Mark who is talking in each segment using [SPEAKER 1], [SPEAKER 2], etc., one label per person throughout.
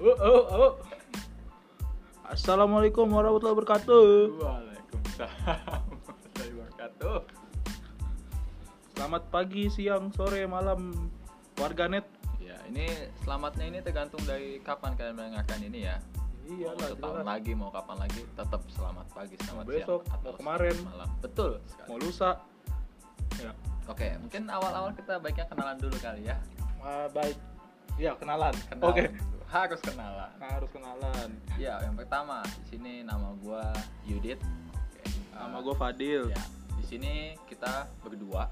[SPEAKER 1] Oh, oh, oh.
[SPEAKER 2] Assalamualaikum warahmatullahi wabarakatuh.
[SPEAKER 1] Waalaikumsalam. warahmatullahi wabarakatuh.
[SPEAKER 2] Selamat pagi, siang, sore, malam warganet.
[SPEAKER 1] Ya, ini selamatnya ini tergantung dari kapan kalian mendengarkan ini ya.
[SPEAKER 2] Iya
[SPEAKER 1] mau setahun
[SPEAKER 2] lah,
[SPEAKER 1] lagi, mau kapan lagi, tetap selamat pagi, selamat
[SPEAKER 2] Mau besok,
[SPEAKER 1] siang, atau
[SPEAKER 2] mau kemarin.
[SPEAKER 1] selamat malam. Betul sekali.
[SPEAKER 2] mau lusa. Ya,
[SPEAKER 1] Oke, mungkin awal-awal kita baiknya kenalan dulu kali ya.
[SPEAKER 2] ah, baik. Ya kenalan.
[SPEAKER 1] Kenalan.
[SPEAKER 2] Oke.
[SPEAKER 1] dulu. Harus kenalan.
[SPEAKER 2] Nah, harus kenalan.
[SPEAKER 1] Ya, yang pertama di sini nama gua Yudit. Oke,
[SPEAKER 2] Nama
[SPEAKER 1] eh,
[SPEAKER 2] gue Fadil.
[SPEAKER 1] Ya, di sini kita berdua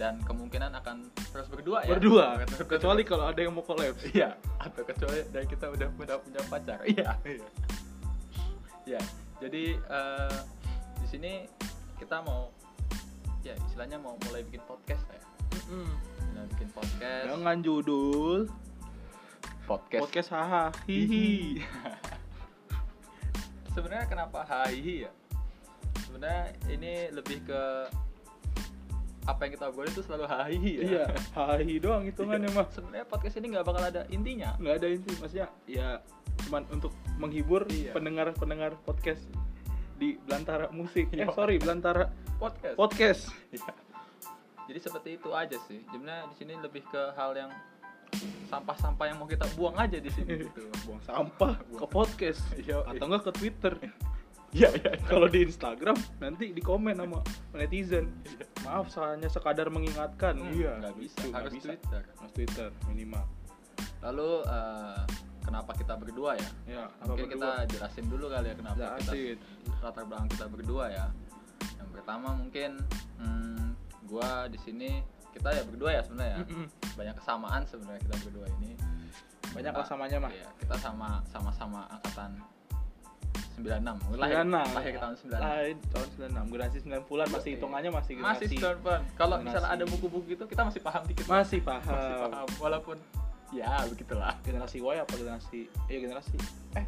[SPEAKER 1] dan kemungkinan akan terus berdua ya.
[SPEAKER 2] Berdua.
[SPEAKER 1] Terus berdua.
[SPEAKER 2] Kecuali kalau ada yang mau collab.
[SPEAKER 1] iya, atau kecuali dari kita udah udah punya pacar. Iya. ya, jadi eh, di sini kita mau ya istilahnya mau mulai bikin podcast ya. Mulai bikin podcast.
[SPEAKER 2] Dengan judul
[SPEAKER 1] podcast.
[SPEAKER 2] podcast haha hihi.
[SPEAKER 1] Sebenarnya kenapa HIHI ya? Sebenarnya ini lebih ke apa yang kita obrolin itu selalu HIHI ya.
[SPEAKER 2] Iya, hahi doang hitungannya mah.
[SPEAKER 1] sebenarnya podcast ini nggak bakal ada intinya
[SPEAKER 2] nggak ada inti maksudnya ya cuman untuk menghibur
[SPEAKER 1] Iya.
[SPEAKER 2] pendengar-pendengar podcast di belantara musik eh
[SPEAKER 1] Iya.
[SPEAKER 2] sorry belantara
[SPEAKER 1] podcast
[SPEAKER 2] podcast
[SPEAKER 1] Iya. jadi seperti itu aja sih sebenarnya di sini lebih ke hal yang sampah-sampah yang mau kita buang aja di sini gitu buang
[SPEAKER 2] sampah ke podcast
[SPEAKER 1] Iya.
[SPEAKER 2] atau enggak ke Twitter
[SPEAKER 1] iya iya
[SPEAKER 2] kalau di Instagram nanti di komen sama netizen maaf hanya sekadar mengingatkan
[SPEAKER 1] iya nggak bisa
[SPEAKER 2] Itu, nggak
[SPEAKER 1] harus
[SPEAKER 2] bisa.
[SPEAKER 1] Twitter.
[SPEAKER 2] harus Twitter minimal
[SPEAKER 1] lalu eh, kenapa kita berdua ya
[SPEAKER 2] ya
[SPEAKER 1] mungkin kita jelasin dulu kali ya kenapa
[SPEAKER 2] Jelasin.
[SPEAKER 1] kita latar belakang kita berdua ya yang pertama mungkin hmm, gua di sini kita ya berdua ya sebenarnya ya.
[SPEAKER 2] Mm-mm.
[SPEAKER 1] banyak kesamaan sebenarnya kita berdua ini
[SPEAKER 2] banyak lah
[SPEAKER 1] Kita-
[SPEAKER 2] samanya mah
[SPEAKER 1] Iya, kita sama sama sama angkatan 96. Lahir,
[SPEAKER 2] 96.
[SPEAKER 1] lahir tahun 96.
[SPEAKER 2] Lain tahun 96 generasi 90-an masih
[SPEAKER 1] Iya.
[SPEAKER 2] hitungannya masih
[SPEAKER 1] Masih
[SPEAKER 2] generasi-
[SPEAKER 1] Stonefan. Kalau
[SPEAKER 2] Generasi.
[SPEAKER 1] misalnya ada buku-buku itu kita masih paham dikit.
[SPEAKER 2] masih
[SPEAKER 1] Masih
[SPEAKER 2] paham
[SPEAKER 1] paham walaupun ya begitulah.
[SPEAKER 2] generasi Y apa generasi eh generasi eh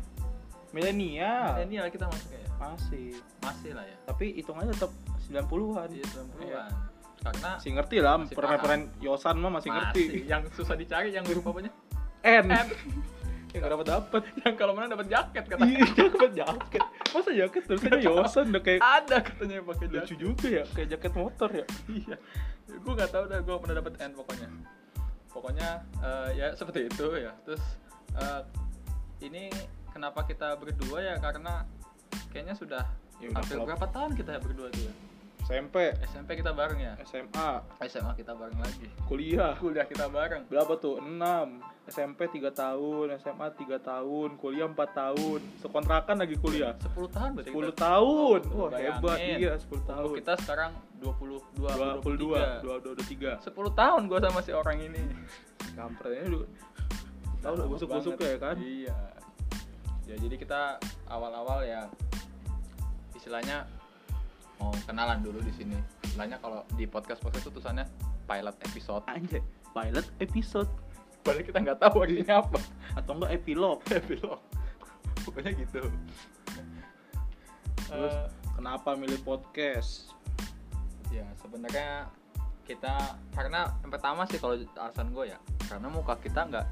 [SPEAKER 2] milenial
[SPEAKER 1] Milenial kita masih ya.
[SPEAKER 2] masih
[SPEAKER 1] Masih lah ya.
[SPEAKER 2] tapi hitungannya tetap 90-an
[SPEAKER 1] Di 90-an.
[SPEAKER 2] Iya.
[SPEAKER 1] Karena
[SPEAKER 2] masih ngerti lah
[SPEAKER 1] Masih
[SPEAKER 2] permainan Yosan mah masih ngerti Ya,
[SPEAKER 1] masih. yang susah dicari yang huruf apanya?
[SPEAKER 2] N
[SPEAKER 1] M.
[SPEAKER 2] yang gak dapat dapat
[SPEAKER 1] yang kalau mana dapat jaket katanya.
[SPEAKER 2] iya dapat jaket masa jaket tulisannya Yosan udah kayak
[SPEAKER 1] ada katanya yang pakai
[SPEAKER 2] lucu
[SPEAKER 1] jaket.
[SPEAKER 2] juga ya kayak jaket motor ya
[SPEAKER 1] iya gue nggak tahu dah gue pernah dapet N pokoknya pokoknya eh, ya seperti itu ya terus eh, ini kenapa kita berdua ya karena kayaknya sudah
[SPEAKER 2] Ya udah
[SPEAKER 1] hampir
[SPEAKER 2] klop.
[SPEAKER 1] berapa tahun kita berdua tuh ya
[SPEAKER 2] SMP
[SPEAKER 1] SMP kita bareng ya
[SPEAKER 2] SMA
[SPEAKER 1] SMA kita bareng lagi
[SPEAKER 2] kuliah
[SPEAKER 1] kuliah kita bareng
[SPEAKER 2] berapa tuh 6 SMP 3 tahun SMA 3 tahun kuliah 4 tahun sekontrakan lagi kuliah
[SPEAKER 1] 10 tahun berarti
[SPEAKER 2] 10
[SPEAKER 1] kita.
[SPEAKER 2] tahun. Wah,
[SPEAKER 1] Oh,
[SPEAKER 2] hebat.
[SPEAKER 1] bayangin.
[SPEAKER 2] Iya, 10 tahun.
[SPEAKER 1] Umur kita sekarang 22
[SPEAKER 2] 22,
[SPEAKER 1] 22 23
[SPEAKER 2] 22, 23.
[SPEAKER 1] 10 tahun gue sama si orang ini
[SPEAKER 2] Kampretnya dulu. Tahu lah
[SPEAKER 1] Lama
[SPEAKER 2] busuk-busuknya
[SPEAKER 1] Nah, banget.
[SPEAKER 2] ya kan?
[SPEAKER 1] Iya. Ya jadi kita awal-awal ya istilahnya mau kenalan dulu di sini. Istilahnya kalau di podcast podcast itu tulisannya pilot episode.
[SPEAKER 2] Anjay, pilot episode
[SPEAKER 1] Padahal kita nggak tahu artinya apa.
[SPEAKER 2] atau enggak epilog.
[SPEAKER 1] Epilog. Pokoknya gitu.
[SPEAKER 2] Terus
[SPEAKER 1] Terus
[SPEAKER 2] Eh, kenapa milih podcast?
[SPEAKER 1] ya sebenarnya kita karena yang pertama sih kalau alasan gue ya karena muka kita nggak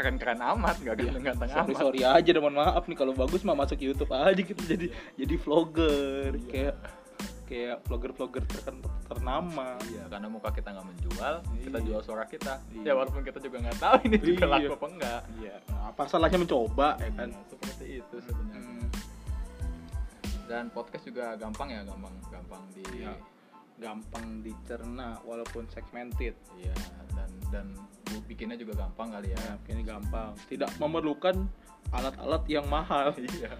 [SPEAKER 1] keren-keren amat, nggak ganteng-ganteng
[SPEAKER 2] Iya, Sorry,
[SPEAKER 1] amat.
[SPEAKER 2] sorry aja dan mohon maaf nih kalau bagus mah masuk YouTube aja kita jadi jadi vlogger
[SPEAKER 1] Iya.
[SPEAKER 2] kayak kayak vlogger-vlogger terken- ternama.
[SPEAKER 1] Iya, karena muka kita nggak menjual, kita
[SPEAKER 2] Iya.
[SPEAKER 1] jual suara kita.
[SPEAKER 2] Iya.
[SPEAKER 1] Ya walaupun kita juga nggak tahu ini juga
[SPEAKER 2] Iya.
[SPEAKER 1] laku apa enggak.
[SPEAKER 2] Iya, apa salahnya mencoba ya kan?
[SPEAKER 1] Iya, seperti itu sebenarnya.
[SPEAKER 2] Hmm,
[SPEAKER 1] Dan podcast juga gampang ya, gampang gampang di
[SPEAKER 2] Iya. gampang dicerna walaupun segmented.
[SPEAKER 1] Iya, dan dan bu- bikinnya juga gampang kali ya.
[SPEAKER 2] Ya, ini gampang. Tidak memerlukan alat-alat yang mahal.
[SPEAKER 1] Iya.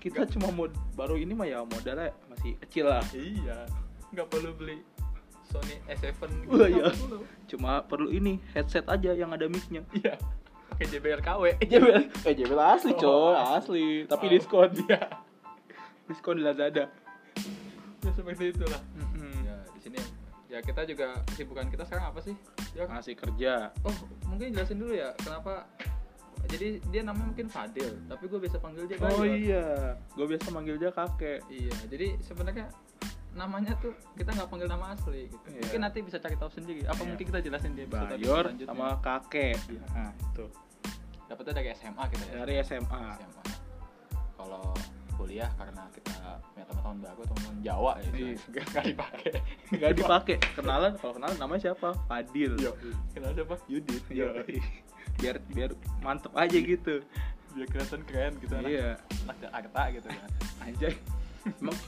[SPEAKER 2] Kita cuma mau baru ini mah ya modalnya masih kecil lah.
[SPEAKER 1] Iya. Nggak perlu beli Sony S7 gitu.
[SPEAKER 2] Wah,
[SPEAKER 1] nggak
[SPEAKER 2] iya.
[SPEAKER 1] perlu.
[SPEAKER 2] Cuma perlu ini headset aja yang ada mic-nya.
[SPEAKER 1] Iya. Pakai JBL KW.
[SPEAKER 2] JBL, eh JBL asli
[SPEAKER 1] Oh,
[SPEAKER 2] coy,
[SPEAKER 1] asli.
[SPEAKER 2] asli. Tapi
[SPEAKER 1] Oh.
[SPEAKER 2] diskon,
[SPEAKER 1] Iya.
[SPEAKER 2] diskon di Lazada. Iya.
[SPEAKER 1] Ya seperti itulah. Ya, di sini ya kita juga kesibukan kita sekarang apa sih? Ya,
[SPEAKER 2] Masih kerja.
[SPEAKER 1] Oh, mungkin jelasin dulu ya kenapa. Jadi dia namanya mungkin Fadil, tapi gue biasa panggil dia
[SPEAKER 2] Oh
[SPEAKER 1] Fadil.
[SPEAKER 2] iya, gue biasa manggil dia kakek.
[SPEAKER 1] Iya, Jadi sebenarnya namanya tuh kita nggak panggil nama asli. Gitu.
[SPEAKER 2] Iya.
[SPEAKER 1] Mungkin nanti bisa cari tahu sendiri. Apa
[SPEAKER 2] Iya.
[SPEAKER 1] mungkin kita jelasin dia
[SPEAKER 2] Bayor sama kakek.
[SPEAKER 1] Iya.
[SPEAKER 2] Nah, itu.
[SPEAKER 1] dapatnya dari SMA kita ya
[SPEAKER 2] dari SMA
[SPEAKER 1] SMA kalau kuliah karena kita punya teman-teman baru teman Jawa ya
[SPEAKER 2] Iya.
[SPEAKER 1] itu nggak dipakai
[SPEAKER 2] nggak dipakai kenalan kalau kenalan namanya siapa Fadil
[SPEAKER 1] Yo, kenal siapa Yudit
[SPEAKER 2] Yo.
[SPEAKER 1] yo
[SPEAKER 2] biar biar mantep aja gitu
[SPEAKER 1] biar kelihatan keren gitu anak
[SPEAKER 2] iya
[SPEAKER 1] anak Jakarta gitu kan
[SPEAKER 2] anjay emang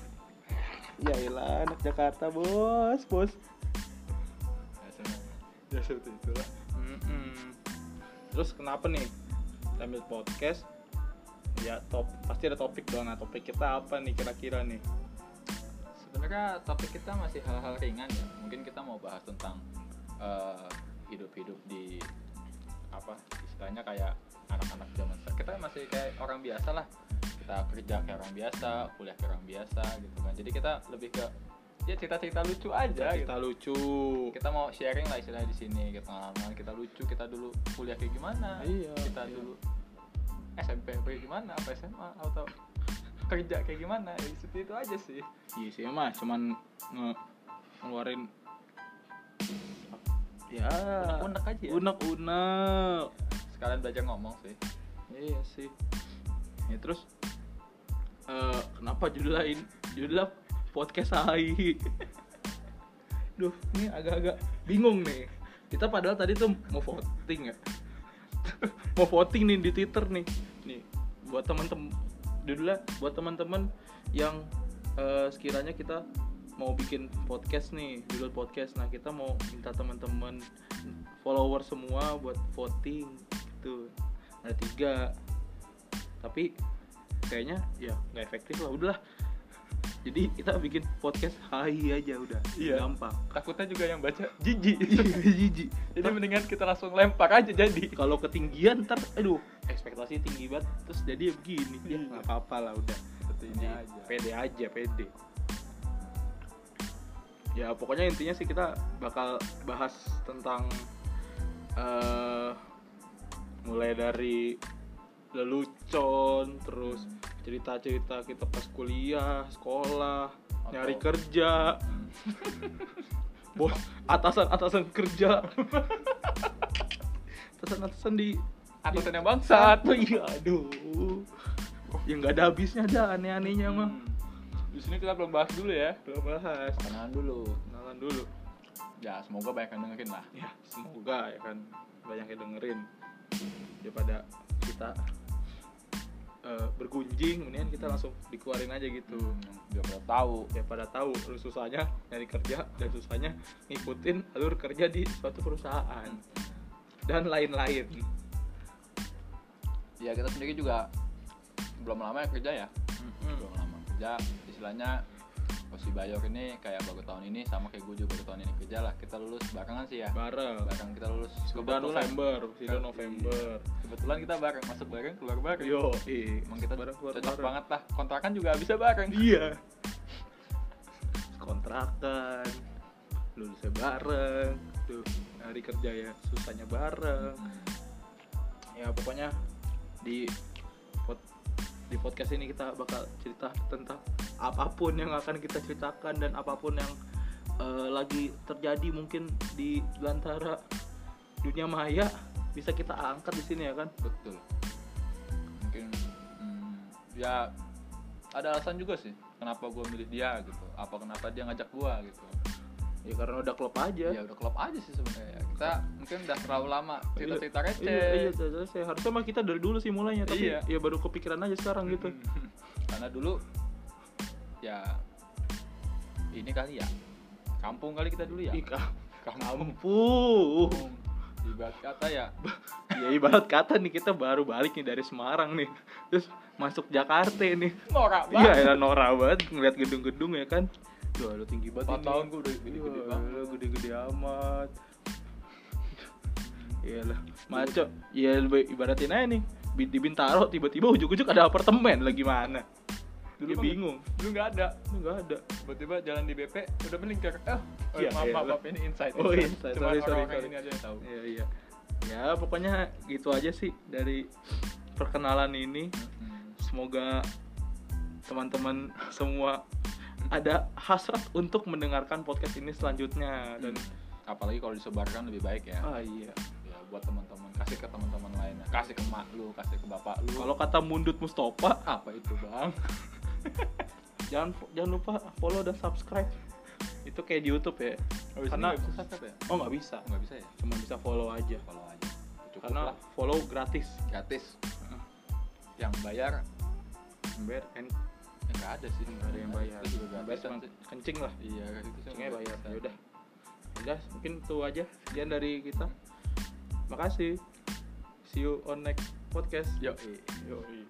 [SPEAKER 2] ya elah anak Jakarta bos bos
[SPEAKER 1] Biasanya. ya seperti itulah
[SPEAKER 2] Mm-mm. terus kenapa nih kita ambil podcast ya top pasti ada topik dong nah topik kita apa nih kira-kira nih
[SPEAKER 1] sebenarnya topik kita masih hal-hal ringan ya mungkin kita mau bahas tentang eh, hidup-hidup di apa istilahnya kayak anak-anak zaman sekarang kita masih kayak orang biasa lah kita kerja kayak orang biasa kuliah kayak orang biasa gitu kan jadi kita lebih ke ya cerita-cerita lucu aja
[SPEAKER 2] kita
[SPEAKER 1] gitu
[SPEAKER 2] lucu
[SPEAKER 1] kita mau sharing lah istilahnya di sini gitu pengalaman kita lucu kita dulu kuliah kayak gimana
[SPEAKER 2] Iya,
[SPEAKER 1] kita
[SPEAKER 2] iya.
[SPEAKER 1] dulu SMP kayak gimana apa SMA atau kerja kayak gimana ya, seperti itu aja sih
[SPEAKER 2] Iya sih mah cuman nge- ngeluarin ya
[SPEAKER 1] unek aja ya?
[SPEAKER 2] unek unek
[SPEAKER 1] sekalian belajar ngomong sih
[SPEAKER 2] iya sih ya terus eh, kenapa judul lain judul podcast AI duh ini agak-agak bingung nih kita padahal tadi tuh mau voting ya mau voting nih di Twitter nih nih buat teman-teman judulnya buat teman-teman yang eh, sekiranya kita mau bikin podcast nih judul podcast nah kita mau minta teman-teman follower semua buat voting gitu ada tiga tapi kayaknya ya nggak efektif lah udahlah jadi kita bikin podcast hai aja udah
[SPEAKER 1] Iya.
[SPEAKER 2] gampang
[SPEAKER 1] takutnya juga yang baca Iya, jijik
[SPEAKER 2] jijik
[SPEAKER 1] jadi mendingan kita langsung lempar aja jadi
[SPEAKER 2] kalau ketinggian ntar aduh ekspektasi tinggi banget terus jadi ya begini ya
[SPEAKER 1] Iya.
[SPEAKER 2] nggak apa-apa lah udah
[SPEAKER 1] seperti ini
[SPEAKER 2] Jadi,
[SPEAKER 1] aja
[SPEAKER 2] pede aja pede ya pokoknya intinya sih kita bakal bahas tentang eh mulai dari lelucon terus cerita-cerita kita pas kuliah sekolah
[SPEAKER 1] Atau-
[SPEAKER 2] nyari kerja bos atasan atasan kerja atasan atasan di
[SPEAKER 1] atasan yang bangsat
[SPEAKER 2] satu iya aduh yang nggak ada habisnya ada aneh-anehnya mah
[SPEAKER 1] Hmm. di sini kita belum bahas dulu ya
[SPEAKER 2] belum Hmm, bahas
[SPEAKER 1] kenalan dulu
[SPEAKER 2] kenalan dulu
[SPEAKER 1] ya semoga banyak yang dengerin lah
[SPEAKER 2] ya semoga ya kan banyak yang dengerin daripada kita eh, bergunjing mendingan kita langsung dikeluarin aja gitu
[SPEAKER 1] tuh biar pada tahu
[SPEAKER 2] ya pada tahu susahnya nyari kerja dan susahnya ngikutin alur kerja di suatu perusahaan dan lain-lain
[SPEAKER 1] ya kita sendiri juga belum lama ya kerja ya
[SPEAKER 2] Hmm.
[SPEAKER 1] belum lama kerja istilahnya Osi Bayor ini kayak baru tahun ini sama kayak gue juga baru tahun ini kerja lah kita lulus barengan sih ya
[SPEAKER 2] bareng
[SPEAKER 1] bareng kita lulus
[SPEAKER 2] sudah November sudah
[SPEAKER 1] Iya.
[SPEAKER 2] November
[SPEAKER 1] kebetulan kita bareng masuk bareng keluar bareng
[SPEAKER 2] yo eh,
[SPEAKER 1] emang kita
[SPEAKER 2] bareng keluar
[SPEAKER 1] cocok
[SPEAKER 2] bareng.
[SPEAKER 1] banget lah kontrakan juga bisa bareng
[SPEAKER 2] iya kontrakan lulusnya bareng tuh hari kerja ya susahnya bareng
[SPEAKER 1] Hmm,
[SPEAKER 2] ya pokoknya di pod- di podcast ini kita bakal cerita tentang apapun yang akan kita ceritakan dan apapun yang eh, lagi terjadi mungkin di lantara dunia maya bisa kita angkat di sini ya kan
[SPEAKER 1] betul mungkin hmm, ya ada alasan juga sih kenapa gue milih dia gitu apa kenapa dia ngajak gue gitu
[SPEAKER 2] ya karena udah klop aja
[SPEAKER 1] ya udah klop aja sih sebenarnya ya. kita mungkin udah terlalu lama cerita cerita
[SPEAKER 2] Iya,
[SPEAKER 1] receh
[SPEAKER 2] Iya, iya, terus saya harusnya mah kita dari dulu sih mulainya, tapi
[SPEAKER 1] Iya.
[SPEAKER 2] ya baru kepikiran aja sekarang gitu.
[SPEAKER 1] Hmm. karena dulu ya ini kali ya kampung kali kita dulu ya
[SPEAKER 2] Ih, ka-
[SPEAKER 1] kampung
[SPEAKER 2] kampung.
[SPEAKER 1] ibarat kata ya
[SPEAKER 2] ya ibarat kata nih kita baru balik nih dari Semarang nih, terus masuk Jakarta nih. Iya,
[SPEAKER 1] norak banget
[SPEAKER 2] elah norak banget ngeliat gedung-gedung ya kan. Duh, lu tinggi banget.
[SPEAKER 1] Empat
[SPEAKER 2] ini.
[SPEAKER 1] tahun gua udah gede-gede
[SPEAKER 2] Wah,
[SPEAKER 1] banget.
[SPEAKER 2] lu gede-gede amat. Iyalah, maco. Ya lebih- ibaratin aja nih. Bi- Di Bintaro tiba-tiba ujuk-ujuk ada apartemen lah gimana?
[SPEAKER 1] Dulu
[SPEAKER 2] Dulu kan
[SPEAKER 1] mah-
[SPEAKER 2] Iya, bingung.
[SPEAKER 1] dulu nggak ada
[SPEAKER 2] Ini nggak ada.
[SPEAKER 1] tiba-tiba jalan di BP udah melingkar eh oh,
[SPEAKER 2] Iya,
[SPEAKER 1] maaf
[SPEAKER 2] iya.
[SPEAKER 1] maaf maaf, ini insight
[SPEAKER 2] Oh, insight.
[SPEAKER 1] cuma
[SPEAKER 2] Sorry, sorry,
[SPEAKER 1] orang-orang
[SPEAKER 2] sorry.
[SPEAKER 1] ini aja yang tahu
[SPEAKER 2] Iya iya. Ya pokoknya gitu aja sih dari perkenalan ini.
[SPEAKER 1] Hmm.
[SPEAKER 2] Semoga teman-teman semua ada hasrat untuk mendengarkan podcast ini selanjutnya dan
[SPEAKER 1] apalagi kalau disebarkan lebih baik ya
[SPEAKER 2] ah iya
[SPEAKER 1] ya buat teman-teman kasih ke teman-teman lain kasih ke mak lu kasih ke bapak lu
[SPEAKER 2] Kalau kata mundut Mustopa,
[SPEAKER 1] apa itu bang
[SPEAKER 2] jangan jangan lupa follow dan subscribe. Itu kayak di YouTube ya.
[SPEAKER 1] Habis
[SPEAKER 2] Karena-
[SPEAKER 1] ini Oh, nggak bisa subscribe ya
[SPEAKER 2] Oh nggak bisa,
[SPEAKER 1] Oh, nggak bisa ya
[SPEAKER 2] cuma bisa follow aja.
[SPEAKER 1] follow aja cukup
[SPEAKER 2] Karena
[SPEAKER 1] lah
[SPEAKER 2] follow gratis.
[SPEAKER 1] gratis yang bayar
[SPEAKER 2] Yang Bayar kan
[SPEAKER 1] ya nggak ada sih nggak
[SPEAKER 2] ada yang bayar.
[SPEAKER 1] itu juga
[SPEAKER 2] Yang
[SPEAKER 1] gratis
[SPEAKER 2] bayar cuma
[SPEAKER 1] sih.
[SPEAKER 2] kencing lah.
[SPEAKER 1] iya itu sih
[SPEAKER 2] Kencingnya
[SPEAKER 1] nggak
[SPEAKER 2] bayar.
[SPEAKER 1] bisa.
[SPEAKER 2] Ya udah. Udah, mungkin itu aja sekian dari kita. Makasih. See you on next podcast.
[SPEAKER 1] Yoi.
[SPEAKER 2] Yoi.